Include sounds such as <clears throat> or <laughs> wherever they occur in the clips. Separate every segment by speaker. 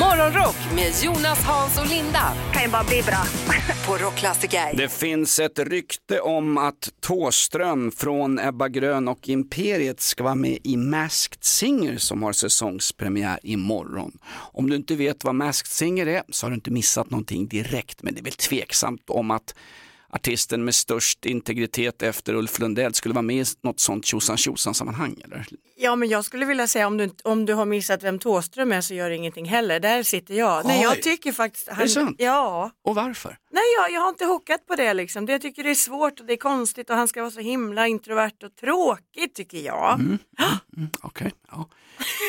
Speaker 1: Morgonrock med Jonas, Hans och Linda
Speaker 2: kan ju bara bli bra.
Speaker 1: <laughs> på Rockklassiker.
Speaker 3: Det finns ett rykte om att Tåström från Ebba Grön och Imperiet ska vara med i Masked Singer som har säsongspremiär imorgon. Om du inte vet vad Masked Singer är så har du inte missat någonting direkt men det är väl tveksamt om att artisten med störst integritet efter Ulf Lundell skulle vara med i något sånt tjosan tjosan sammanhang eller?
Speaker 4: Ja men jag skulle vilja säga om du, inte- om du har missat vem Thåström är så gör det ingenting heller. Där sitter jag. Nej
Speaker 3: Oj.
Speaker 4: jag tycker faktiskt... Han,
Speaker 3: det sant?
Speaker 4: Ja.
Speaker 3: Och varför?
Speaker 4: Nej jag, jag har inte hockat på det liksom. Det, jag tycker det är svårt och det är konstigt och han ska vara så himla introvert och tråkig tycker jag.
Speaker 3: Mm, Okej, ja.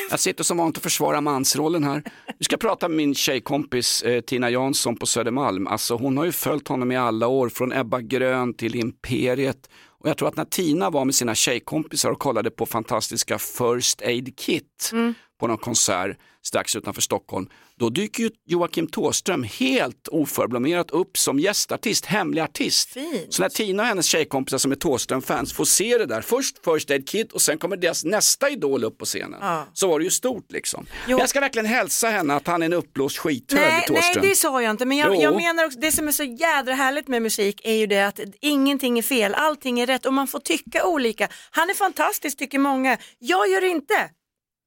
Speaker 3: Jag sitter som vanligt och försvarar mansrollen här. Vi ska prata med min tjejkompis eh, Tina Jansson på Södermalm. Alltså hon har ju följt honom i alla år, från Ebba Grön till Imperiet. Och jag tror att när Tina var med sina tjejkompisar och kollade på fantastiska First Aid Kit på någon konsert strax utanför Stockholm, då dyker ju Joakim Thåström helt oförblommerat upp som gästartist, hemlig artist.
Speaker 4: Fint.
Speaker 3: Så när Tina och hennes tjejkompisar som är Thåström-fans får se det där, först First Aid Kit och sen kommer deras nästa idol upp på scenen.
Speaker 4: Ja.
Speaker 3: Så var det ju stort liksom.
Speaker 4: Jo.
Speaker 3: Jag ska verkligen hälsa henne att han är en uppblåst skithög,
Speaker 4: Nej, nej
Speaker 3: Thåström.
Speaker 4: det sa jag inte men jag,
Speaker 3: Jo.
Speaker 4: jag menar också det som är så jädra härligt med musik är ju det att ingenting är fel, allting är rätt och man får tycka olika. Han är fantastisk tycker många, jag gör det inte.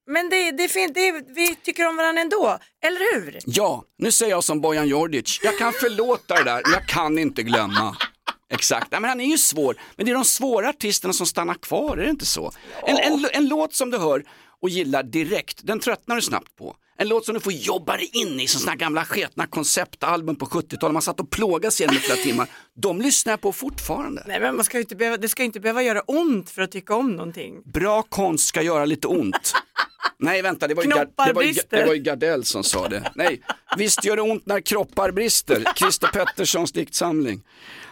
Speaker 4: Men det, det, är fint, det är, vi tycker om varandra ändå, eller hur?
Speaker 3: Ja, nu säger jag som Bojan Djordjic. Jag kan förlåta det där, men jag kan inte glömma. Exakt, Nej, men han är ju svår. Men det är de svåra artisterna som stannar kvar, är det inte så? En, en, en låt som du hör och gillar direkt, den tröttnar du snabbt på. En låt som du får jobba dig in i, som sådana gamla sketna konceptalbum på 70-talet, man satt och plågade sig igenom i flera timmar. De lyssnar jag på fortfarande.
Speaker 4: Nej men man ska ju inte behöva, det ska ju inte behöva göra ont för att tycka om någonting.
Speaker 3: Bra konst ska göra lite
Speaker 4: <laughs>
Speaker 3: ont. Nej vänta, det var, ju Gar- det, var ju,
Speaker 4: Knopparbrister.
Speaker 3: det var ju Gardell som sa det. Nej, visst gör det ont när kroppar brister. Christer Petterssons diktsamling.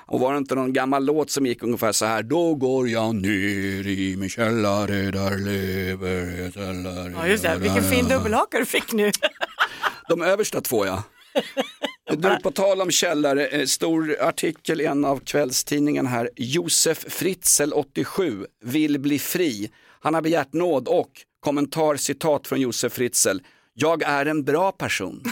Speaker 3: Och var det inte någon gammal låt som gick ungefär så här. Då går jag ner i min källare där lever ett alla
Speaker 4: Ja just det, vilken fin dubbelhaka du fick <laughs> nu.
Speaker 3: De översta två ja. Du, på tal om källare, eh, stor artikel i en av kvällstidningen här. Josef Fritzl, 87, vill bli fri. Han har begärt nåd och, kommentar, citat från Josef Fritzl, jag är en bra person. Ja.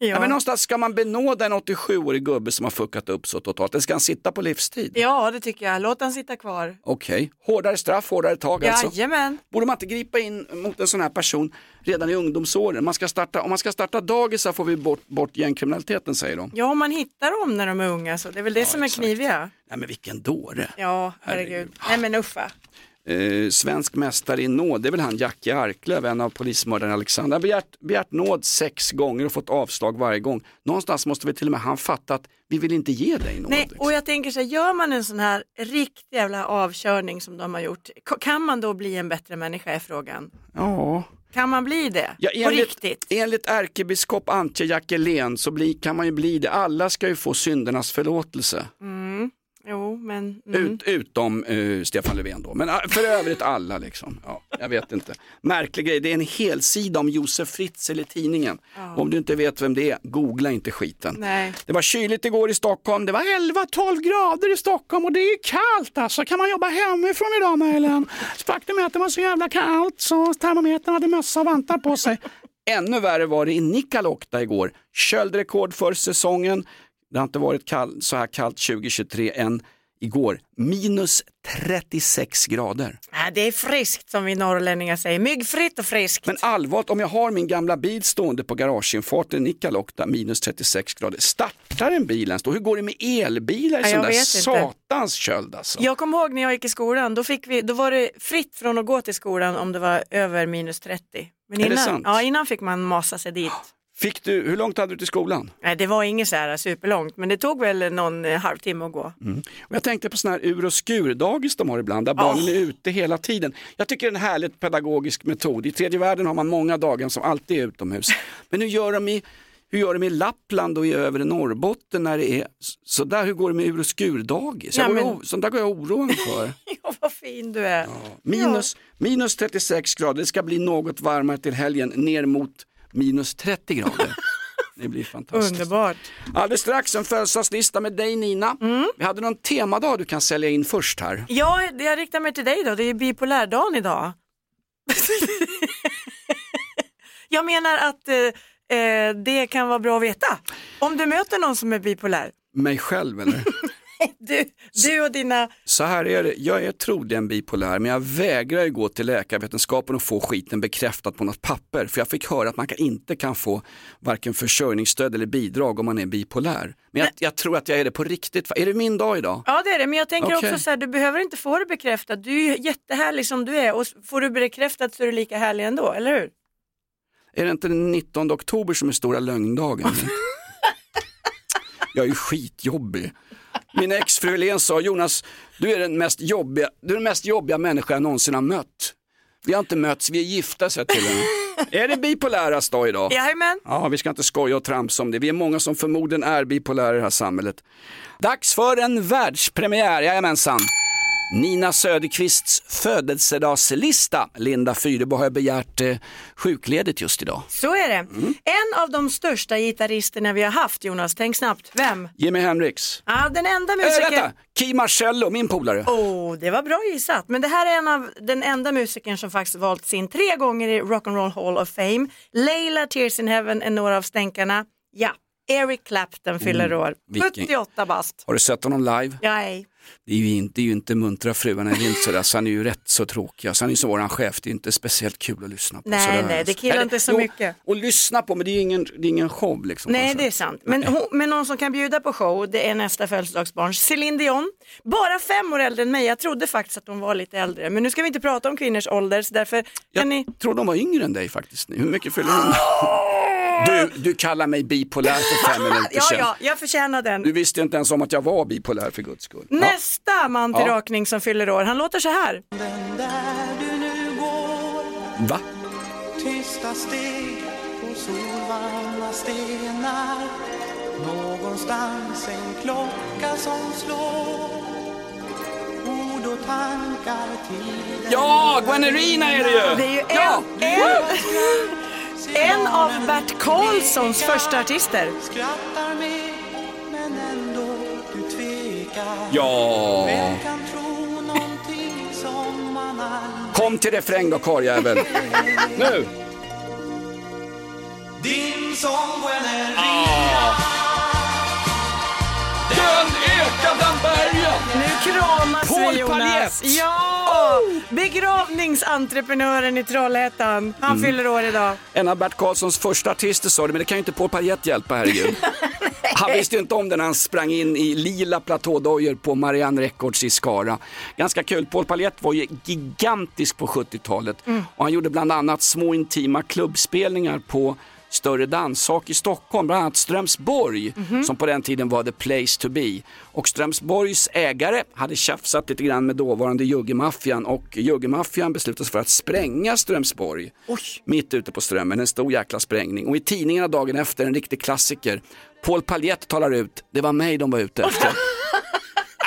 Speaker 3: Men
Speaker 4: Ja.
Speaker 3: någonstans ska man benåda en 87-årig gubbe som har fuckat upp så totalt. Den ska han sitta på livstid?
Speaker 4: ja det tycker jag, låt han sitta kvar.
Speaker 3: Okej, hårdare straff, hårdare tag alltså.
Speaker 4: Jajamän.
Speaker 3: Borde man inte gripa in mot en sån här person redan i ungdomsåren? Man ska starta, om man ska starta dagisar får vi bort, bort gängkriminaliteten säger de.
Speaker 4: Ja om man hittar dem när de är unga så det är väl det som är kniviga.
Speaker 3: Nej men vilken dåre.
Speaker 4: Ja herregud, nej men uffa.
Speaker 3: Eh, svensk mästare i nåd, det är väl han Jackie Arklöv, en av polismördaren Alexander. Han har begärt, begärt nåd sex gånger och fått avslag varje gång. Någonstans måste väl till och med han fatta att vi vill inte ge dig nåd. liksom.
Speaker 4: Nej, och jag tänker så här, gör man en sån här riktig jävla avkörning som de har gjort, k- kan man då bli en bättre människa är frågan.
Speaker 3: ja.
Speaker 4: Kan man bli det?
Speaker 3: Ja,
Speaker 4: På
Speaker 3: enligt,
Speaker 4: riktigt?
Speaker 3: enligt ärkebiskop Antje Jackelén så bli, kan man ju bli det. Alla ska ju få syndernas förlåtelse.
Speaker 4: Jo, men mm.
Speaker 3: Ut, utom eh, Stefan Löfven då, men eh, för övrigt alla liksom. Ja, jag vet inte. Märklig grej, det är en hel sida om Josef Fritzl i tidningen. Om du inte vet vem det är, googla inte skiten.
Speaker 4: Nej.
Speaker 3: Det var kyligt igår i Stockholm, det var 11-12 grader i Stockholm och det är kallt alltså. Kan man jobba hemifrån idag möjligen? Faktum är att det var så jävla kallt så termometern hade mössa och vantar på sig. Ännu värre var det i Nikkaluokta igår. Köldrekord för säsongen. Det har inte varit kall, så här kallt 2023 än igår. Minus 36 grader.
Speaker 4: Nej, det är friskt som vi norrlänningar säger, myggfritt och friskt.
Speaker 3: Men allvarligt, om jag har min gamla bil stående på garageinfarten i Nikkaluokta, minus 36 grader, startar den bilen? Hur går det med elbilar i
Speaker 4: Ja,
Speaker 3: sån
Speaker 4: jag
Speaker 3: där
Speaker 4: vet inte.
Speaker 3: satans köld alltså?
Speaker 4: Jag kommer ihåg när jag gick i skolan, då, fick vi, då var det fritt från att gå till skolan om det var över minus 30. Men
Speaker 3: Är det
Speaker 4: innan,
Speaker 3: sant?
Speaker 4: Ja, innan fick man masa sig dit.
Speaker 3: Fick du, hur långt hade du till skolan?
Speaker 4: Nej, det var inget så här superlångt, men det tog väl någon eh, halvtimme att gå.
Speaker 3: Och jag tänkte på sådana här ur och skurdagis de har ibland, där barnen är ute hela tiden. Jag tycker det är en härligt pedagogisk metod. I tredje världen har man många daghem som alltid är
Speaker 4: <laughs>
Speaker 3: utomhus. Men hur gör de i, hur gör de i Lappland och i övre Norrbotten när det är sådär? Hur går det med ur och skurdagis? Jag
Speaker 4: Ja,
Speaker 3: går
Speaker 4: men-
Speaker 3: o- Sånt där går jag oroan för.
Speaker 4: <laughs> Ja, vad fin du är.
Speaker 3: Minus, minus 36 grader, det ska bli något varmare till helgen, ner mot minus 30 grader. Det blir fantastiskt.
Speaker 4: Underbart.
Speaker 3: Alldeles strax en födelsedagslista med dig Nina. Vi hade någon temadag du kan sälja in först här.
Speaker 4: Ja, det- jag riktar mig till dig då. Det är ju <laughs> bipolärdagen idag. jag menar att eh, eh, det kan vara bra att veta. Om du möter någon som är bipolär,
Speaker 3: Mig själv eller?
Speaker 4: du, du och dina,
Speaker 3: Så här är det, jag är troligen bipolär men jag vägrar ju gå till läkarvetenskapen och få skiten bekräftat på något papper. För jag fick höra att man kan, inte kan få varken försörjningsstöd eller bidrag om man är bipolär. Men jag, jag tror att jag är det på riktigt. Va? Är det min dag idag?
Speaker 4: ja det är det, men jag tänker
Speaker 3: Okej.
Speaker 4: också så här, du behöver inte få det bekräftat, du är ju jättehärlig som du är och s- får du bekräftat så är du lika härlig ändå, eller hur?
Speaker 3: Är det inte den 19 oktober som är stora lögndagen? jag är ju skitjobbig. Min exfru Helene sa, Jonas, du är den mest jobbiga, du är den mest jobbiga människa jag någonsin har mött. Vi har inte mötts, vi är gifta sa jag till henne. är det bipoläras dag idag?
Speaker 4: Jajamän,
Speaker 3: Ja, vi ska inte skoja och tramsa om det. Vi är många som förmodligen är bipolära i det här samhället. Dags för en världspremiär, jajamensan. Nina Söderqvists födelsedagslista. Linda Fyrebo har begärt eh, sjukledigt just idag.
Speaker 4: så är det.
Speaker 3: Mm.
Speaker 4: En av de största gitarristerna vi har haft Jonas, tänk snabbt, vem?
Speaker 3: Jimi Hendrix.
Speaker 4: Ja, den enda
Speaker 3: Äh,
Speaker 4: musikern...
Speaker 3: vänta, Key Marcello, min polare.
Speaker 4: Oh, det var bra gissat. Men det här är en av den enda musikern som faktiskt valts in tre gånger i Rock'n'Roll Hall of Fame. Leila, Tears in Heaven är några av stänkarna. Ja, Eric Clapton fyller år.
Speaker 3: Mm, vilken-
Speaker 4: 78 bast.
Speaker 3: Har du sett honom live?
Speaker 4: Nej.
Speaker 3: Det är ju inte, det är ju inte muntra fruarna i vinter, så han är ju rätt så tråkig. Alltså, han är ju som våran chef, det är inte speciellt kul att lyssna på.
Speaker 4: Nej,
Speaker 3: sådär. alltså.
Speaker 4: nej, det killar
Speaker 3: Eller,
Speaker 4: inte så
Speaker 3: jo,
Speaker 4: mycket.
Speaker 3: Och lyssna på, men det är ju ingen, det är ingen show liksom.
Speaker 4: Nej,
Speaker 3: Alltså.
Speaker 4: det är sant. Men, hon, men någon som kan bjuda på show, det är nästa födelsedagsbarn, Céline Dion. Bara fem år äldre än mig. Jag trodde faktiskt att hon var lite äldre. Men nu ska vi inte prata om kvinnors ålder, så därför
Speaker 3: Jag
Speaker 4: kan ni...
Speaker 3: tror de var yngre än dig faktiskt. Hur mycket fyller hon? Du, du kallar mig bipolär för fem minuter
Speaker 4: <laughs> Ja,
Speaker 3: sedan.
Speaker 4: ja, jag förtjänar den.
Speaker 3: Du visste inte ens om att jag var bipolär för guds skull. Ja.
Speaker 4: Nästa man till
Speaker 3: Ja.
Speaker 4: rakning som fyller år, han låter så här.
Speaker 2: Där du nu går
Speaker 3: Va?
Speaker 2: Tysta steg på solvarma stenar Någonstans en klocka som slår Ord och tankar tiden
Speaker 3: Ja, Gwennerina är det ju!
Speaker 4: Det är ju en,
Speaker 3: ja.
Speaker 4: en, en av Bert Karlssons första artister.
Speaker 2: Skrattar med men ändå du tvekar
Speaker 3: ja.
Speaker 2: Vem kan tro någonting som man aldrig
Speaker 3: Kom till refräng då karljävel. nu!
Speaker 2: Din sång Gwennerina
Speaker 3: Den ekar bland bergen!
Speaker 4: Nu kramas
Speaker 3: Paul
Speaker 4: vi Jonas.
Speaker 3: Paljett!
Speaker 4: Ja! Begravningsentreprenören i Trollhättan. Han
Speaker 3: Mm.
Speaker 4: fyller år idag.
Speaker 3: En av Bert Karlssons första artister sa det, men det kan ju inte Paul Paljett hjälpa, herregud. Han visste ju inte om det när han sprang in i lila platådojor på Marianne Records i Skara. Ganska kul, Paul Paljett var ju gigantisk på 70-talet och han gjorde bland annat små intima klubbspelningar på större danssak i Stockholm, bland annat Strömsborg som på den tiden var the place to be. Och Strömsborgs ägare hade tjafsat lite grann med dåvarande juggemaffian och juggemaffian beslutade sig för att spränga Strömsborg mitt ute på Strömmen, en stor jäkla sprängning. Och i tidningarna dagen efter, en riktig klassiker, Paul Paljett talar ut, det var mig de var ute efter.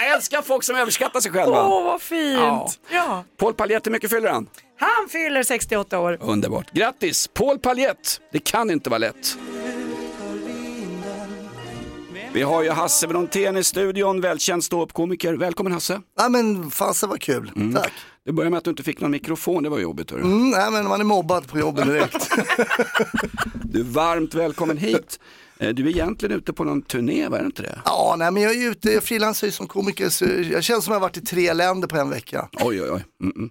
Speaker 3: Jag älskar folk som överskattar sig själva.
Speaker 4: Åh, vad fint!
Speaker 3: Ja.
Speaker 4: Ja.
Speaker 3: Paul Paljett, hur mycket fyller han?
Speaker 4: Han fyller 68 år.
Speaker 3: Underbart. Grattis, Paul Paljett. Det kan inte vara lätt. Vi har ju Hasse Brontén i studion, välkänd ståuppkomiker. Välkommen Hasse.
Speaker 5: Ja men fasen var kul,
Speaker 3: Mm.
Speaker 5: tack.
Speaker 3: Det började med att du inte fick någon mikrofon, det var jobbigt. hörru.
Speaker 5: Mm, nej men man är mobbad på
Speaker 3: <laughs>
Speaker 5: jobbet direkt.
Speaker 3: Du är varmt välkommen hit. Eh, Du är egentligen ute på någon turné, var det inte det?
Speaker 5: ja nej men jag är ute, jag frilansar ju som komiker så jag känner som jag har varit i tre länder på en vecka.
Speaker 3: Oj, oj, oj. Mm, mm.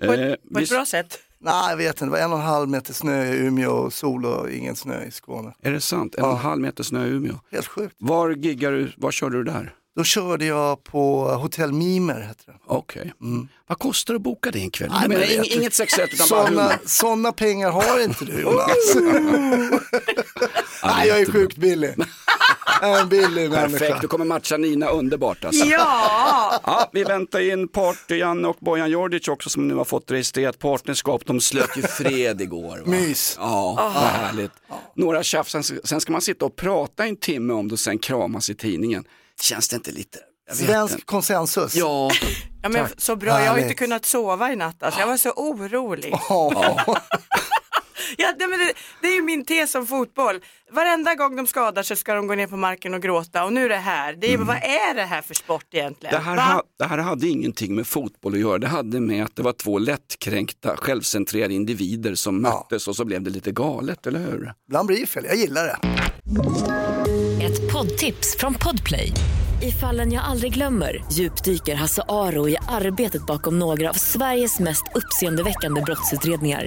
Speaker 4: På
Speaker 3: Eh,
Speaker 4: ett, på
Speaker 3: vi-
Speaker 4: ett bra
Speaker 5: <laughs>
Speaker 4: sätt.
Speaker 5: Nej jag vet inte, det var en och en halv meter snö i Umeå och sol och ingen snö i Skåne.
Speaker 3: Är det sant? En och en halv meter snö i Umeå.
Speaker 5: Helt sjukt.
Speaker 3: Var giggar du, var körde du där?
Speaker 5: Då körde jag på Hotell Mimer, heter det.
Speaker 3: Okej.
Speaker 5: Mm.
Speaker 3: Vad kostar det att boka det en kväll?
Speaker 5: Nej,
Speaker 3: Jag
Speaker 5: men
Speaker 3: menar,
Speaker 5: jag
Speaker 3: ing-
Speaker 5: vet
Speaker 3: inget sexuellt utan bara humor.
Speaker 5: Sådana, sådana pengar har inte du Jonas. <laughs> nej jag är sjukt billig. Jag är en billig
Speaker 3: Perfekt,
Speaker 5: människa.
Speaker 3: du kommer matcha Nina underbart alltså.
Speaker 4: Ja!
Speaker 3: Ja, vi väntar in Partyan och Bojan Djordjic också som nu har fått registrerat partnerskap. De slöt ju fred igår. Va?
Speaker 5: Mys.
Speaker 3: Ja,
Speaker 4: Ah.
Speaker 3: vad härligt. Några tjafs, sen, sen ska man sitta och prata i en timme om det och sen kramas i tidningen. Känns det inte lite? Jag vet
Speaker 5: Svensk
Speaker 3: inte.
Speaker 5: konsensus.
Speaker 3: Ja,
Speaker 4: ja men så bra, jag har inte
Speaker 5: Härligt. <laughs>
Speaker 4: kunnat sova i natt. Alltså. Jag var så orolig.
Speaker 5: Ja.
Speaker 4: <laughs> Ja, det, men det, det är ju min tes om fotboll. Varenda gång de skadar sig ska de gå ner på marken och gråta och nu är det här. Det är,
Speaker 5: Mm.
Speaker 4: Vad är det här för sport egentligen?
Speaker 3: Det här,
Speaker 4: Va?
Speaker 3: ha, det här hade ingenting med fotboll att göra, det hade med att det var två lättkränkta, självcentrerade individer som
Speaker 5: Ja.
Speaker 3: möttes och så blev det lite galet, eller hur?
Speaker 5: Ibland blir det fel, jag gillar det.
Speaker 6: Ett poddtips från Podplay. I fallen jag aldrig glömmer djupdyker Hasse Aro i arbetet bakom några av Sveriges mest uppseendeväckande brottsutredningar.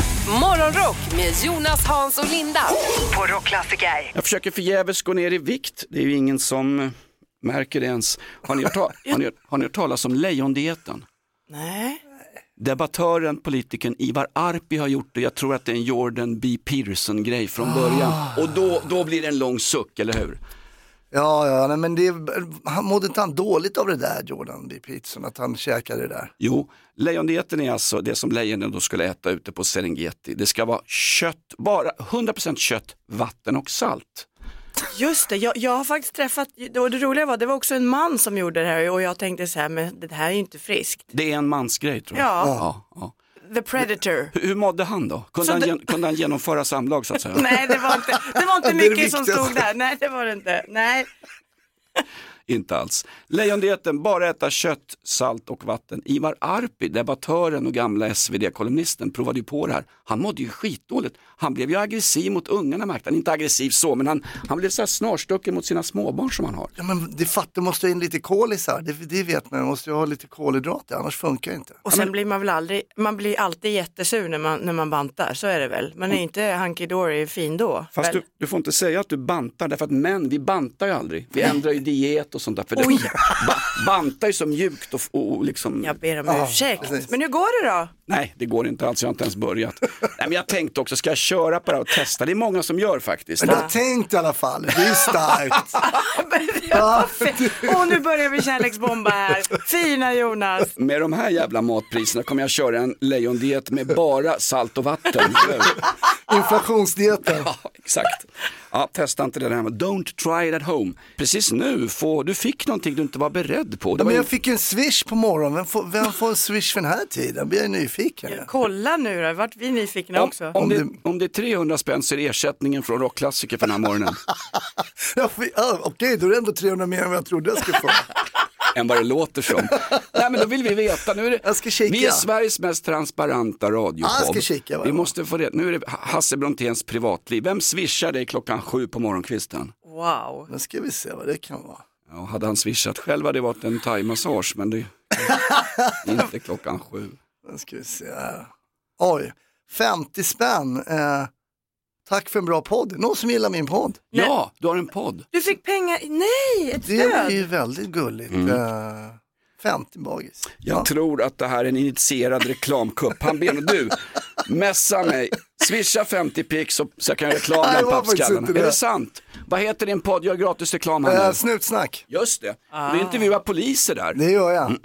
Speaker 1: Morgonrock med Jonas, Hans och Linda på Rockklassiker.
Speaker 3: Jag försöker förgäves gå ner i vikt, det är ju ingen som eh, märker det ens. Har ni hört, ta- har ni, har ni hört talas om lejondieten?
Speaker 4: Nej.
Speaker 3: Debattören, politikern Ivar Arpi har gjort det, jag tror att det är en Jordan B. Peterson-grej från början. Och då, då blir det en lång suck, eller hur?
Speaker 5: Ja, ja, nej, men det, han mådde inte han dåligt av det där, Jordan B. Peterson, att han käkade det där?
Speaker 3: Jo, lejondieten är alltså det som lejonen då skulle äta ute på Serengeti. Det ska vara kött, bara 100% kött, vatten och salt.
Speaker 4: Just det, jag, jag har faktiskt träffat, och det roliga var det var också en man som gjorde det här och jag tänkte så här, men det här är ju inte friskt.
Speaker 3: Det är en mansgrej tror jag.
Speaker 4: Ja.
Speaker 3: Ja, ja.
Speaker 4: The predator.
Speaker 3: Hur, hur mådde han då? Kunde
Speaker 4: Så
Speaker 3: han,
Speaker 4: det-
Speaker 3: gen, kunde han genomföra samlag så att säga?
Speaker 4: <laughs> Nej, det var inte, det var inte
Speaker 5: <laughs> Det är det
Speaker 4: mycket som
Speaker 5: viktigaste.
Speaker 4: stod där. Nej, det var det inte. Nej.
Speaker 3: Inte alls. Lejondieten, bara äta kött, salt och vatten. Ivar Arpi, debattören och gamla SvD-kolumnisten, provade ju på det här. Han mådde ju skitdåligt. Han blev ju aggressiv mot ungarna märkte han. Inte aggressiv så, men han, han blev så här snarstucken mot sina småbarn som han har.
Speaker 5: Ja, men det fattar, måste ha in lite kolisar, det, det vet man, man måste ju ha lite kolhydrater, annars funkar det inte.
Speaker 4: Och sen blir man väl aldrig, man blir alltid jättesur när man, när man bantar, så är det väl. Man är
Speaker 5: Mm.
Speaker 4: inte hunky dory fin då.
Speaker 3: Fast
Speaker 4: väl?
Speaker 3: du, du får inte säga att du bantar därför att män, vi bantar ju aldrig. Vi ändrar ju diet och sånt där. För det,
Speaker 4: Oj.
Speaker 3: ba, bantar ju som mjukt och, och, och liksom,
Speaker 4: Jag ber om
Speaker 5: Ja,
Speaker 4: ursäkt.
Speaker 5: Ah, precis.
Speaker 4: Men hur går det då? <laughs>
Speaker 3: nej det går inte alls, jag har inte ens börjat. nej, men jag tänkte också, ska jag köra på det här och testa? Det är många som gör faktiskt.
Speaker 5: Men du har tänkt i alla fall, det
Speaker 3: <laughs>
Speaker 5: är starkt. Ah.
Speaker 4: Ja, Och nu börjar vi kärleksbomba här. Fina Jonas.
Speaker 3: Med de här jävla matpriserna kommer jag köra en lejondiet med bara salt och vatten.
Speaker 5: Inflationsdieten.
Speaker 3: ja, exakt. Ja, testa inte det där med don't try it at home. Precis nu, får, du fick någonting du inte var beredd på. Det
Speaker 5: Ja,
Speaker 3: var
Speaker 5: men
Speaker 3: ju-
Speaker 5: jag fick ju en swish på morgonen, vem får, vem får en swish för den här tiden? Blir jag nyfiken.
Speaker 4: Kolla nu då, vart vi nyfikna
Speaker 3: om,
Speaker 4: också.
Speaker 3: om, det,
Speaker 5: Om
Speaker 3: om det är 300 spänn så är det ersättningen från rockklassiker för den här
Speaker 5: <laughs>
Speaker 3: morgonen.
Speaker 5: Ja, fy- ja, Okej, då är det ändå 300 mer än vad jag trodde jag skulle få.
Speaker 3: än vad det låter som. Nej men då vill vi veta, nu är det,
Speaker 5: Jag ska kika.
Speaker 3: vi är Sveriges mest transparenta
Speaker 5: Ja, jag
Speaker 3: radiopodd.
Speaker 5: ska kika, va?
Speaker 3: vi måste få reda, nu är det Hasse Bronténs privatliv. Vem swishar dig klockan sju på morgonkvisten?
Speaker 4: Wow.
Speaker 5: Nu ska vi se vad det kan vara.
Speaker 3: Ja, hade han swishat själv hade det varit en thaimassage men det
Speaker 5: <laughs>
Speaker 3: inte klockan sju.
Speaker 5: Nu ska vi se här. Oj, 50 spänn. Eh, tack för en bra podd. Någon som gillar min podd.
Speaker 3: Ja, du har en podd.
Speaker 4: Du fick pengar, nej, ett
Speaker 5: Det är
Speaker 4: stöd.
Speaker 5: ju väldigt gulligt. Eh, 50 bagis.
Speaker 3: Jag tror att det här är en initierad reklamkupp. Han ber du, messa mig, swisha 50 pix så, så jag kan göra reklam
Speaker 5: Nej, det
Speaker 3: bland
Speaker 5: var faktiskt
Speaker 3: pappskallarna.
Speaker 5: inte det.
Speaker 3: Är det sant? Vad heter din podd? Gör gratis reklam här
Speaker 5: Eh,
Speaker 3: nu.
Speaker 5: snutsnack,
Speaker 3: Just det, du intervjuar poliser där.
Speaker 5: det gör jag.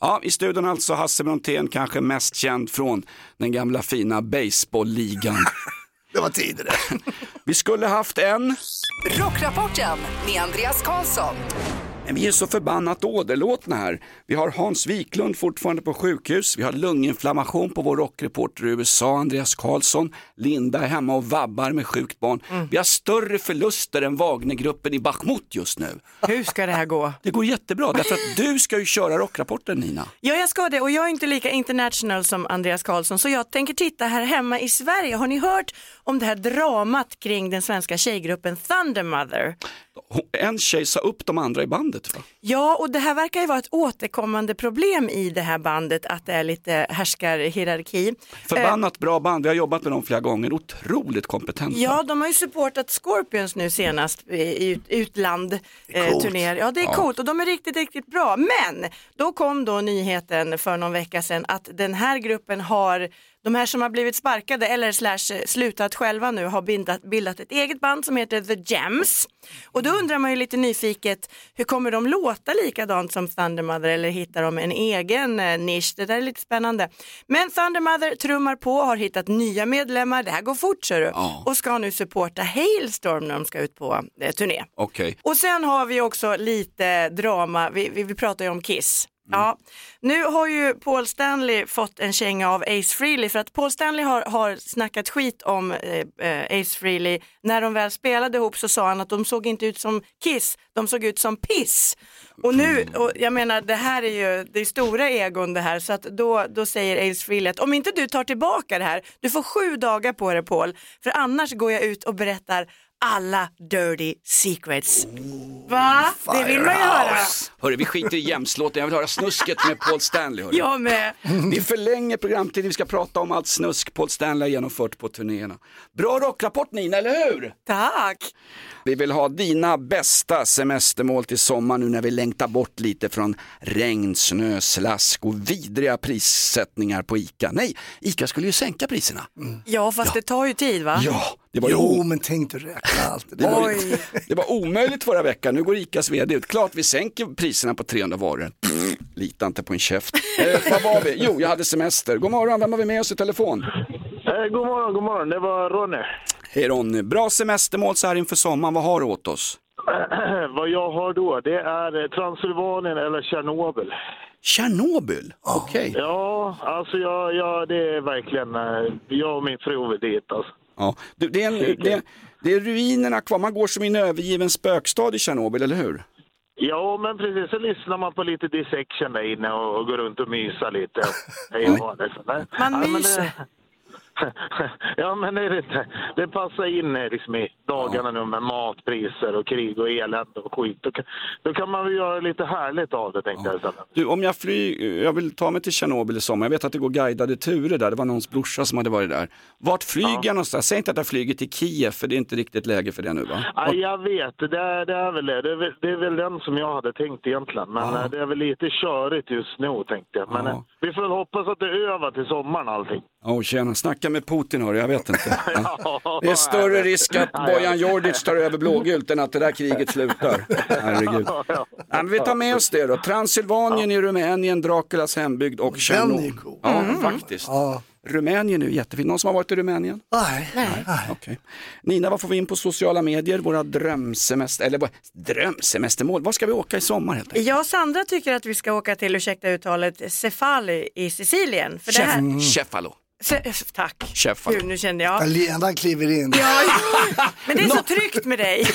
Speaker 3: Ja, i studion alltså Hasse Brontén, kanske mest känd från den gamla fina baseballligan.
Speaker 5: <laughs> Det var tidigare.
Speaker 3: Vi skulle haft en,
Speaker 1: Rockrapporten med Andreas Karlsson.
Speaker 3: men vi är så förbannat åderlåtna här. Vi har Hans Wiklund fortfarande på sjukhus, vi har lunginflammation på vår rockreporter i USA, Andreas Karlsson, Linda är hemma och vabbar med sjukt barn. Vi har större förluster än Wagnergruppen i Bachmut just nu.
Speaker 4: Hur ska det här gå?
Speaker 3: Det går jättebra, därför att du ska ju köra rockrapporten Nina.
Speaker 4: Ja, jag ska det och jag är inte lika international som Andreas Karlsson så jag tänker titta här hemma i Sverige. Har ni hört om det här dramat kring den svenska tjejgruppen Thundermother?
Speaker 3: Hon- En tjej sa upp de andra i bandet va?
Speaker 4: Ja, och det här verkar ju vara ett återkommande problem i det här bandet att det är lite härskarhierarki.
Speaker 3: Förbannat bra band, vi har jobbat med dem flera gånger, otroligt kompetenta.
Speaker 4: Ja, de har ju supportat Scorpions nu senast i- i ut, utland eh, turnéer. Ja, det är coolt och de är riktigt, riktigt bra. Men då kom då nyheten för någon vecka sedan att den här gruppen har De här som har blivit sparkade eller slash eh, slutat själva nu har bildat, bildat ett eget band som heter The Gems. Och då undrar man ju lite nyfiket, hur kommer de låta likadant som Thunder Mother eller hittar de en egen eh, nisch? Det där är lite spännande. Men Thunder Mother trummar på, har hittat nya medlemmar, det här går fort ser du. Och ska nu supporta Hailstorm när de ska ut på eh, turné.
Speaker 3: Okej.
Speaker 4: Och sen har vi också lite drama, vi, vi, vi pratar ju om Kiss. Ja. Nu har ju Paul Stanley fått en känga av Ace Frehley för att Paul Stanley har, har snackat skit om eh, eh, Ace Frehley. När de väl spelade ihop så sa han att de såg inte ut som Kiss, de såg ut som piss. Och nu, och jag menar det här är ju, det är stora egon det här så att då, då säger Ace Frehley att om inte du tar tillbaka det här, du får sju dagar på dig Paul, för annars går jag ut och berättar alla dirty secrets. Va? Det vill man ju höra.
Speaker 3: Hörru, vi skiter i jämslåten. Jag vill höra snusket med Paul Stanley. Hörru.
Speaker 4: Jag med.
Speaker 3: Ni Mm. förlänger programtiden. Vi ska prata om allt snusk Paul Stanley har genomfört på turnéerna. Bra rockrapport Nina, eller hur?
Speaker 4: Tack.
Speaker 3: Vi vill ha dina bästa semestermål till sommar nu när vi längtar bort lite från regn, snö, slask och vidriga prissättningar på ICA. Nej, ICA skulle ju sänka priserna.
Speaker 4: Ja, fast det tar ju tid va?
Speaker 3: Ja, det var, ju
Speaker 5: Mm. Jo,
Speaker 3: o-
Speaker 5: men tänk du räkna allt det
Speaker 3: det,
Speaker 5: där.
Speaker 3: var ju, <laughs> det var omöjligt förra veckan. Nu går ICAs vd ut. Klart vi sänker priserna på 300 varor. Lita inte på en käft. Eh, vad var vi? Jo, jag hade semester. God morgon, vem har vi med oss i telefon?
Speaker 7: Eh, god morgon, god morgon. Det var Ronny. <clears throat>
Speaker 3: Hej Ronny, bra semestermål så här inför sommaren. Vad har du åt oss?
Speaker 7: Vad jag har då, det är eh, Transylvanien eller Tjernobyl.
Speaker 3: Tjernobyl? Okej.
Speaker 7: Ja, alltså jag, jag, det är verkligen... eh, Jag och min fru vill dit alltså.
Speaker 3: Ja. Du, det, är en, det, det är ruinerna kvar, man går som i en övergiven spökstad i Tjernobyl, eller hur?
Speaker 7: Ja, men precis. Så lyssnar man på lite dissection där inne och, och går runt och myser lite. Hej och hå, liksom. Nej.
Speaker 4: Man
Speaker 7: Ja, men det-
Speaker 4: myser.
Speaker 7: <laughs> Ja, men det är det inte. Det passar in eh, liksom, i dagarna nu med matpriser och krig och elände och skit. Då kan, då kan man väl göra lite härligt av det, tänkte jag. istället.
Speaker 3: Du, om jag flyger, jag vill ta mig till Tjernobyl i sommar, jag vet att det går guidade turer där, det var någons brorsa som hade varit där. Vart flyger jag någonstans? Säg inte att jag flyger till Kiev, för det är inte riktigt läge för det nu va?
Speaker 7: Ja, jag vet, det är, det är väl det. Det är väl, det är väl den som jag hade tänkt egentligen. Men eh, det är väl lite körigt just nu tänkte jag. Men
Speaker 3: Ja.
Speaker 7: eh, vi får väl hoppas att det är över till sommaren allting.
Speaker 3: Åh tjena, snacka med Putin hörru, jag vet
Speaker 7: <laughs>
Speaker 3: inte. Ja.
Speaker 7: Ja,
Speaker 3: Det är större
Speaker 7: jag vet.
Speaker 3: risk att
Speaker 7: Ja, jag
Speaker 3: Bojan
Speaker 7: vet.
Speaker 3: Djordjic tar över blågult än att det där kriget
Speaker 7: <laughs>
Speaker 3: slutar. Herregud.
Speaker 7: Ja.
Speaker 3: Ja, men vi tar med oss det då. Transylvanien i Rumänien, Draculas hembygd och Tjernobyl.
Speaker 5: är cool.
Speaker 3: Ja, faktiskt.
Speaker 5: Mm. Ja.
Speaker 3: Rumänien är ju jättefint. Någon som har varit i Rumänien?
Speaker 5: Nej. Nej.
Speaker 3: Okej. Nina, vad får vi in på sociala medier? Våra drömsemester, eller vad- drömsemestermål? Var ska vi åka i sommar helt enkelt?
Speaker 4: Jag och Sandra tycker att vi ska åka till, ursäkta uttalet, Cefali i Sicilien. För det här...
Speaker 3: Mm. Cefalo.
Speaker 4: Ce- Tack.
Speaker 3: Cefalo.
Speaker 4: Gud, nu kände jag.
Speaker 8: <laughs>
Speaker 5: Jag Ledan kliver in.
Speaker 4: Men det är så tryggt med dig.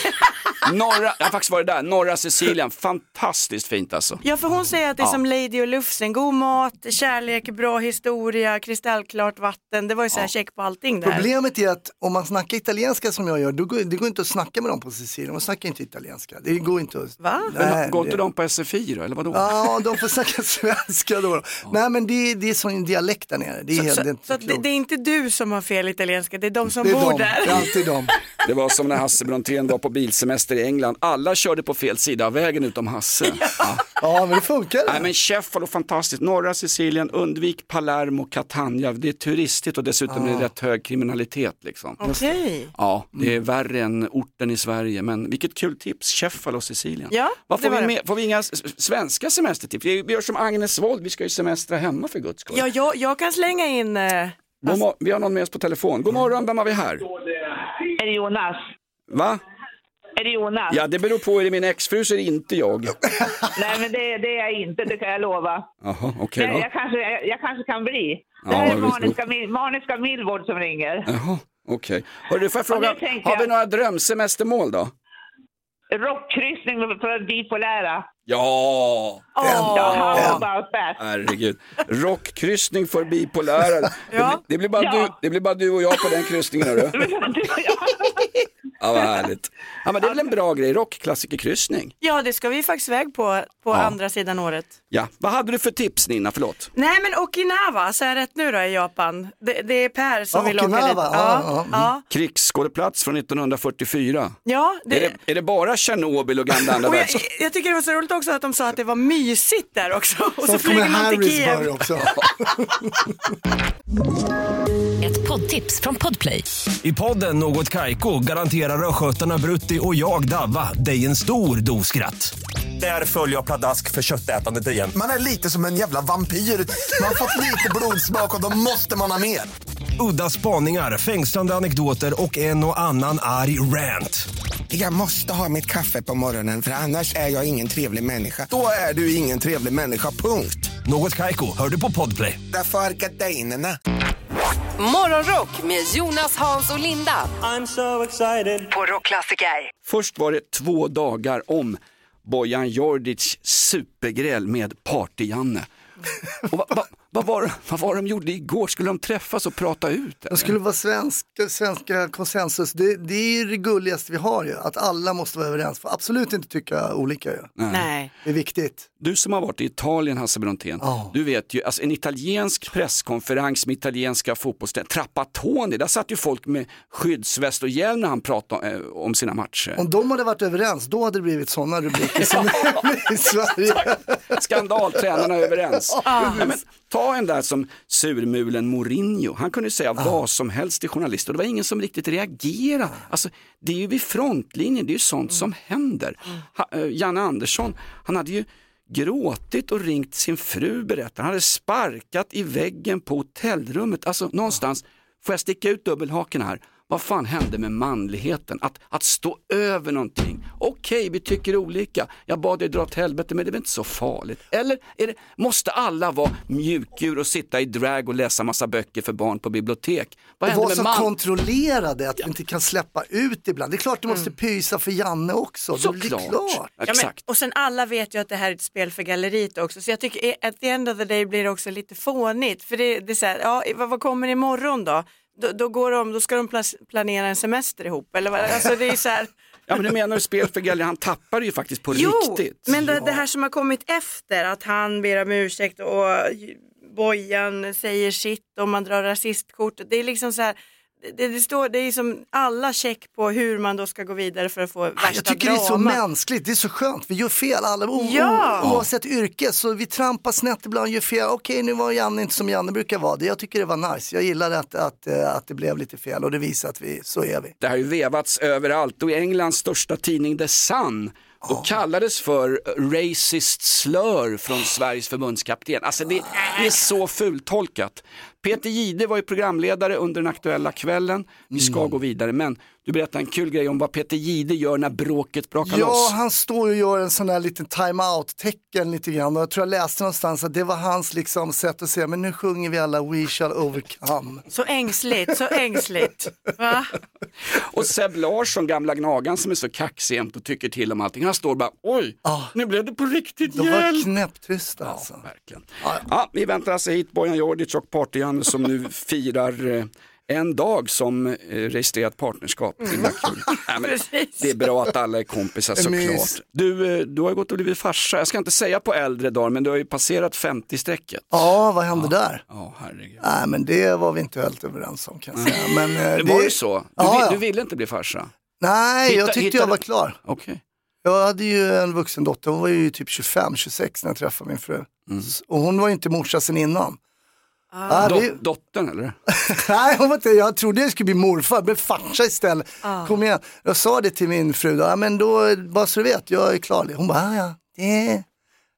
Speaker 3: Norra, jag har faktiskt varit där, norra Sicilien. Fantastiskt fint alltså.
Speaker 4: Ja, för hon säger att det är som Lady och Lufsen, god mat, kärlek, bra historia, kristallklart vatten. Det var ju så här check på allting där.
Speaker 5: Problemet är att om man snackar italienska som jag gör, då går, det går inte att snacka med dem på Sicilien. Man snackar inte italienska. Det går inte att...
Speaker 4: Va?
Speaker 5: Nej, <laughs>
Speaker 3: Går
Speaker 5: det-
Speaker 3: inte de på SFI då, eller vadå?
Speaker 5: Ja, de får snacka svenska då. Nej, men det, det är som en dialekt där nere. Det är helt
Speaker 4: Så,
Speaker 5: inte
Speaker 4: så att det,
Speaker 5: klokt.
Speaker 4: det är inte du som har fel italienska, det är de som
Speaker 5: Det är
Speaker 4: bor
Speaker 5: de.
Speaker 4: där.
Speaker 5: Det är alltid de.
Speaker 3: Det var som när Hasse Brontén var på bilsemester i England. Alla körde på fel sida av vägen utom Hasse. Ja.
Speaker 5: Ja, men det funkar.
Speaker 3: Nej men Cefalo, fantastiskt. Norra Sicilien, undvik Palermo, Catania. Det är turistigt och dessutom är det rätt hög kriminalitet liksom.
Speaker 4: Okej.
Speaker 3: Ja, det är värre än orten i Sverige, men vilket kul tips, Cefalo, Sicilien.
Speaker 4: Ja,
Speaker 3: Vad får,
Speaker 4: det
Speaker 3: vi
Speaker 4: var det.
Speaker 3: med, får vi inga s- s- svenska semestertips? Vi vi gör som Agnes Wold, vi ska ju semestra hemma för guds skull.
Speaker 4: Ja, jag, jag kan slänga in... eh,
Speaker 3: God
Speaker 9: Alltså-
Speaker 3: mor- vi har någon med oss på telefon. God morgon, vem har vi här?
Speaker 9: Är det Jonas?
Speaker 3: Va?
Speaker 9: Är det Jonas?
Speaker 3: Ja, det beror på, är det min exfru så är det inte jag.
Speaker 9: <laughs> Nej, men det, det är jag inte, det kan jag lova.
Speaker 3: Jaha, okej
Speaker 9: Jag,
Speaker 3: då.
Speaker 9: jag, kanske, jag, jag kanske kan bli.
Speaker 3: Ja,
Speaker 9: Det här är
Speaker 3: visst.
Speaker 9: Maniska, Mil- Maniska Millvård som ringer.
Speaker 3: Jaha, okej. Hörru, får
Speaker 9: Ja,
Speaker 3: jag fråga,
Speaker 9: nu tänkte
Speaker 3: har vi
Speaker 9: jag-
Speaker 3: några drömsemestermål då?
Speaker 9: Rockkryssning för bipolära.
Speaker 3: Ja!
Speaker 9: Ja,
Speaker 4: åh.
Speaker 9: how about that? <laughs>
Speaker 3: Herregud. Rockkryssning för bipolära. Det, blir- det, blir bara
Speaker 9: Ja.
Speaker 3: du, det blir bara du och jag på den kryssningen. Hörru.
Speaker 9: Ja.
Speaker 3: Ja, vad härligt. Ja, men det är väl en bra grej, rockklassikerkryssning.
Speaker 4: Ja, det ska vi faktiskt iväg på, på
Speaker 3: Ja.
Speaker 4: andra sidan året.
Speaker 3: Ja, vad hade du för tips Nina, förlåt?
Speaker 4: Nej men Okinawa, så jag rätt nu då i Japan? Det, det är Per som
Speaker 3: Ja,
Speaker 4: vill åka dit.
Speaker 3: Okinawa, ja,
Speaker 4: ja, ja.
Speaker 3: Krigsskådeplats från 1944.
Speaker 4: ja det,
Speaker 3: Är, det, är det bara Tjernobyl och gamla
Speaker 4: <laughs>
Speaker 3: andra
Speaker 4: och jag,
Speaker 3: världskriget?
Speaker 4: jag tycker det var så roligt också att de sa att det var mysigt där också. Och
Speaker 3: Så kommer
Speaker 4: så, flyger man till
Speaker 3: Harrisburg
Speaker 4: Kiev.
Speaker 3: också.
Speaker 6: Ett poddtips från Podplay.
Speaker 10: I podden Något Kaiko garanterar östgötarna Brutti och jag, Davva, dig en stor dos skratt. Där följer jag pladask för köttätandet igen.
Speaker 11: Man är lite som en jävla vampyr. Man har fått lite blodsmak och då måste man ha mer.
Speaker 10: Udda spaningar, fängslande anekdoter och en och annan arg rant.
Speaker 11: Jag måste ha mitt kaffe på morgonen för annars är jag ingen trevlig människa. Då är du ingen trevlig människa, punkt.
Speaker 10: Något Kaiko, hör du på Podplay.
Speaker 11: Därför är gardinerna.
Speaker 1: Morgonrock med Jonas, Hans och Linda. I'm so excited. På Rockklassiker.
Speaker 3: Först var det två dagar om Bojan Djordjic supergräl med Party-Janne. Och vad, vad, vad, var, vad var de gjorde igår? Skulle de träffas och prata ut? eller?
Speaker 5: Det skulle vara svensk, svenska konsensus, det, det är ju det gulligaste vi har ju, att alla måste vara överens, för absolut inte tycka olika ju.
Speaker 4: Nej.
Speaker 5: Det är viktigt.
Speaker 3: Du som har varit i Italien Hasse Brontén, du vet ju, alltså en italiensk presskonferens med italienska fotbollsspelare, Trapattoni, där satt ju folk med skyddsväst och hjälm när han pratade eh, om sina matcher.
Speaker 5: Om de hade varit överens, då hade det blivit sådana rubriker som det blir i Sverige.
Speaker 3: Skandal, tränarna är överens.
Speaker 5: Ja.
Speaker 3: Nej, men, ta en där som surmulen Mourinho, han kunde ju säga vad som helst till journalister och det var ingen som riktigt reagerade. Alltså, det är ju vid frontlinjen, det är ju sånt som händer. Ha, eh, Janne Andersson, han hade ju gråtit och ringt sin fru berättar han. hade sparkat i väggen på hotellrummet. Alltså någonstans, får jag sticka ut dubbelhaken här? Vad fan hände med manligheten? Att, att stå över någonting. Okej, vi tycker olika. Jag bad dig dra åt helvete, men det är väl inte så farligt. Eller är det, måste alla vara mjukdjur och sitta i drag och läsa massa böcker för barn på bibliotek? Vad
Speaker 5: Och
Speaker 3: hände
Speaker 5: vara
Speaker 3: med
Speaker 5: så
Speaker 3: man?
Speaker 5: kontrollerade, att vi inte kan släppa ut ibland. Det är klart du måste pysa för Janne också. Det är väl
Speaker 3: Såklart.
Speaker 5: klart.
Speaker 4: Ja, men, och sen alla vet ju att det här är ett spel för galleriet också så jag tycker eh, at the end of the day blir det också lite fånigt för det, det är så här, ja, vad, vad kommer imorgon då? Då, då, går de, då ska de plas- planera en semester ihop eller vad? Alltså det är så här,
Speaker 3: Ja, men du menar du spel för galleri? Han tappade ju faktiskt på
Speaker 4: jo,
Speaker 3: riktigt.
Speaker 4: men det, det här som har kommit efter att han ber om ursäkt och Bojan säger sitt och man drar rasistkortet, det är liksom så här det, det, står, det är som alla check på hur man då ska gå vidare för att få värsta
Speaker 5: Ah, Jag tycker det är så
Speaker 4: drama.
Speaker 5: mänskligt, det är så skönt. Vi gör fel alla, o- o-
Speaker 4: Ja.
Speaker 5: oavsett yrke. Så vi trampar snett ibland, gör fel. Okej, nu var Janne inte som Janne brukar vara. Det- Jag tycker det var nice. Jag gillar att, att, eh, att det blev lite fel och det visar att vi, så är vi.
Speaker 3: Det har ju vevats överallt och i Englands största tidning The Sun och kallades för racist slur från Sveriges förbundskapten. Alltså det, det är så fultolkat. Peter Gide var ju programledare under den aktuella kvällen. Vi ska
Speaker 5: Mm.
Speaker 3: gå vidare men du berättade en kul grej om vad Peter Gide gör när bråket brakar
Speaker 5: Ja,
Speaker 3: loss.
Speaker 5: han står och gör en sån här liten time-out-tecken lite grann och jag tror jag läste någonstans att det var hans liksom sätt att säga men nu sjunger vi alla We shall overcome.
Speaker 4: Så ängsligt, så ängsligt. Va?
Speaker 3: Och Seb Larsson, gamla gnagan som är så kaxig jämt och tycker till om allting, han står bara oj, nu blev det på riktigt
Speaker 5: De Ah. var
Speaker 3: hjälp.
Speaker 5: knäpptysta alltså.
Speaker 3: verkligen. Ja, vi väntar alltså hit Bojan Djordjic och Party-Janne som nu firar eh, en dag som eh, registrerat partnerskap. Det är bara kul. Nej, men
Speaker 4: Precis.
Speaker 3: det är bra att alla är kompisar
Speaker 5: En mys.
Speaker 3: såklart. Du, eh, du har ju gått och blivit farsa, jag ska inte säga på äldre dagar men du har ju passerat 50-strecket.
Speaker 5: Ja, vad hände där?
Speaker 3: Ja, herregud.
Speaker 5: Nej, men det var vi inte helt överens om kan jag säga. Men, eh,
Speaker 3: det var ju så, du,
Speaker 5: Ja,
Speaker 3: vi-
Speaker 5: ja.
Speaker 3: du ville inte bli farsa.
Speaker 5: Nej,
Speaker 3: Hitta-
Speaker 5: jag tyckte
Speaker 3: hittade-
Speaker 5: jag var klar.
Speaker 3: Okej.
Speaker 5: Jag hade ju en vuxen dotter, hon var ju typ 25-26 när jag träffade min fru.
Speaker 3: Mm.
Speaker 5: S- Och hon var ju inte morsa sen innan. Ah,
Speaker 3: Dot-
Speaker 5: vi-
Speaker 3: Dottern eller?
Speaker 5: <laughs> Nej, hon var inte, jag trodde jag skulle bli morfar, jag blev farsa istället.
Speaker 4: Ah.
Speaker 5: Kom igen. Jag sa det till min fru, då, ja, men då, bara så du vet, jag är klar. Hon bara, "Ah, ja, det,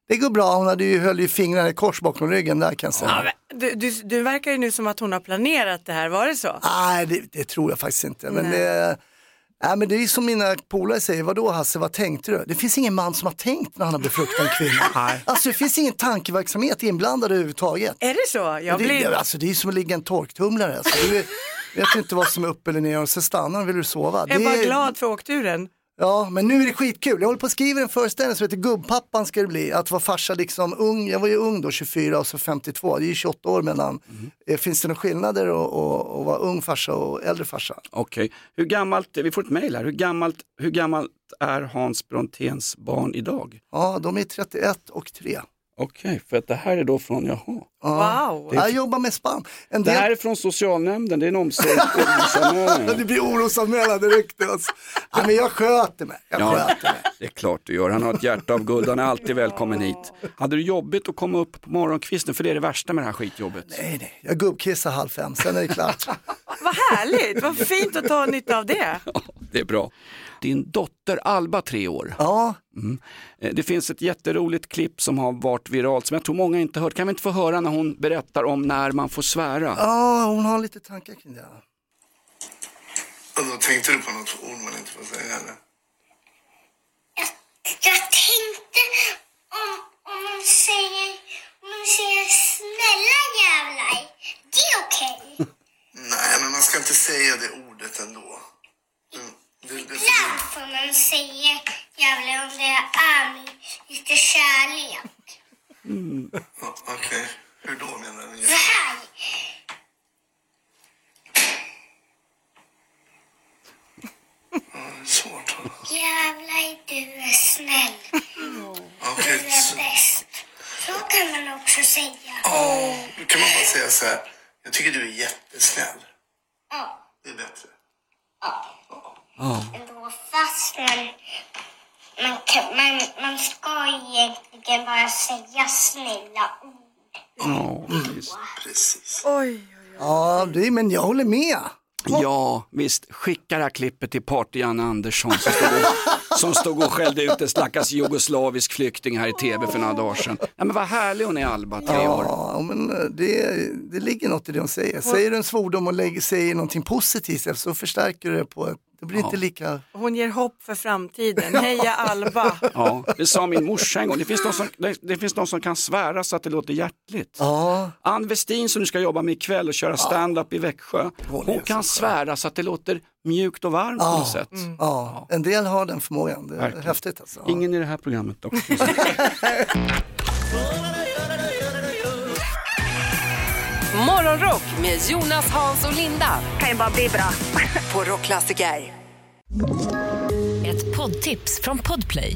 Speaker 5: det går bra. Hon hade ju, höll ju fingrarna i kors bakom ryggen där kan jag säga.
Speaker 4: Du, du, du verkar ju nu som att hon har planerat det här, var det så?
Speaker 5: Nej, det, det tror jag faktiskt inte. Men
Speaker 4: Nej.
Speaker 5: det, nej, men det är som mina polare säger, vadå Hasse, vad tänkte du? Det finns ingen man som har tänkt när han har befruktat en
Speaker 4: <laughs>
Speaker 5: kvinna. Alltså det finns ingen tankeverksamhet inblandad överhuvudtaget.
Speaker 4: Är det så? Jag
Speaker 5: det,
Speaker 4: blir...
Speaker 5: det, alltså, det är som att ligga i en torktumlare. Alltså, du vet inte vad som är upp eller ner och sen stannar och vill du sova.
Speaker 4: Jag är
Speaker 5: det
Speaker 4: bara glad för åkturen.
Speaker 5: Ja, men nu är det skitkul. Jag håller på att skriva en föreställning som heter Gubbpappan ska det bli. Att vara farsa liksom ung. Jag var ju ung då, 24 och så 52. Det är ju 28 år mellan.
Speaker 4: Mm.
Speaker 5: Eh, Finns det några skillnader att- att att vara ung farsa och äldre farsa?
Speaker 3: Okej, hur gammalt, eh, vi får ett mejl här, hur gammalt, hur gammalt är Hans Bronténs barn idag?
Speaker 5: Ja, de är 31 och 3.
Speaker 3: Okej, för att det här är då från, jaha.
Speaker 5: Ja.
Speaker 3: Det är-
Speaker 5: Jag jobbar med spann. En
Speaker 3: Det
Speaker 5: del- <laughs>
Speaker 3: här är från socialnämnden, det är en <laughs> omsorgsanmälan.
Speaker 5: det blir orosanmälan direkt. Alltså. Ja, men jag sköter mig. Jag sköter
Speaker 3: Ja, det är klart du gör. Han har ett hjärta av guld, han är alltid välkommen hit. Hade du jobbigt att komma upp på morgonkvisten, för det är det värsta med det här skitjobbet.
Speaker 5: Nej, nej, jag gubbkissar halv fem, sen är det
Speaker 3: <laughs>
Speaker 5: klart.
Speaker 4: Vad härligt, vad fint att ta nytta av det.
Speaker 5: <laughs>
Speaker 3: Det är bra. Din dotter Alba, tre år.
Speaker 5: Ja.
Speaker 3: Mm. Eh, Det finns ett jätteroligt klipp som har varit viralt, som jag tror många inte hört. Kan vi inte få höra när hon berättar om när man får svära?
Speaker 5: Ja, hon har lite tankar kring det.
Speaker 12: Och då tänkte du på något ord man inte får säga eller?
Speaker 13: Jag tänkte om, om hon säger, om hon säger snälla jävlar, det är okej.
Speaker 12: Nej, men man ska inte säga det ordet ändå. Mm, Det, det,
Speaker 13: Ibland får man säga jävlar om det är med lite kärlek.
Speaker 12: Mm. Ja, Okej, hur då menar ni?
Speaker 13: Så här.
Speaker 12: Mm, Svårt.
Speaker 13: Jävlar du är snäll. Du
Speaker 12: Okej,
Speaker 13: är
Speaker 12: så-
Speaker 13: bäst. Så kan man också säga.
Speaker 12: Åh, nu kan man bara säga så här. Jag tycker du är jättesnäll.
Speaker 13: Ja.
Speaker 12: Det är bättre.
Speaker 3: Ja.
Speaker 13: ändå fast man, man, kan, man, man ska egentligen bara säga snälla ord.
Speaker 3: Ja,
Speaker 12: precis.
Speaker 4: Oj.
Speaker 5: Ja, det, men jag håller med.
Speaker 3: Ja, visst. Skicka det här klippet till Party-Janne Andersson som stod,
Speaker 5: <laughs>
Speaker 3: och, som stod och skällde ut en stackars jugoslavisk flykting här i tv för några dagar sedan. Ja, men vad härlig hon är, Alba, tre år.
Speaker 5: Ja, men eh, det, det ligger något i det hon säger. Säger du en svordom och lägger, säger någonting positivt så förstärker du det på ett, det blir inte lika...
Speaker 4: Hon ger hopp för framtiden. Heja Alba.
Speaker 3: Ja, det sa min morsa en gång. Det finns, någon som, det, det finns någon som kan svära så att det låter hjärtligt.
Speaker 5: Ja.
Speaker 3: Ann Westin som du ska jobba med ikväll och köra stand-up i Växjö. Hon kan svära så att det låter mjukt och varmt på
Speaker 5: Ja, Mm.
Speaker 3: något sätt.
Speaker 5: ja, en del har den förmågan. Det är
Speaker 3: Verkligen.
Speaker 5: häftigt alltså.
Speaker 3: Ingen i det här programmet dock.
Speaker 1: Morgonrock med Jonas, Hans och Linda. Kan ju bara bli bra. På Rockklassiker.
Speaker 6: Ett poddtips från Podplay.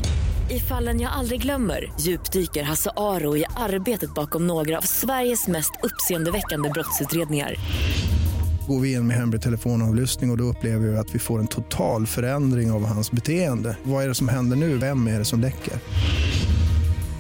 Speaker 6: I fallen jag aldrig glömmer djupdyker Hasse Aro i arbetet bakom några av Sveriges mest uppseendeväckande brottsutredningar.
Speaker 8: Går vi in med hemlig telefonavlyssning och, och då upplever vi att vi får en total förändring av hans beteende. Vad är det som händer nu? Vem är det som läcker?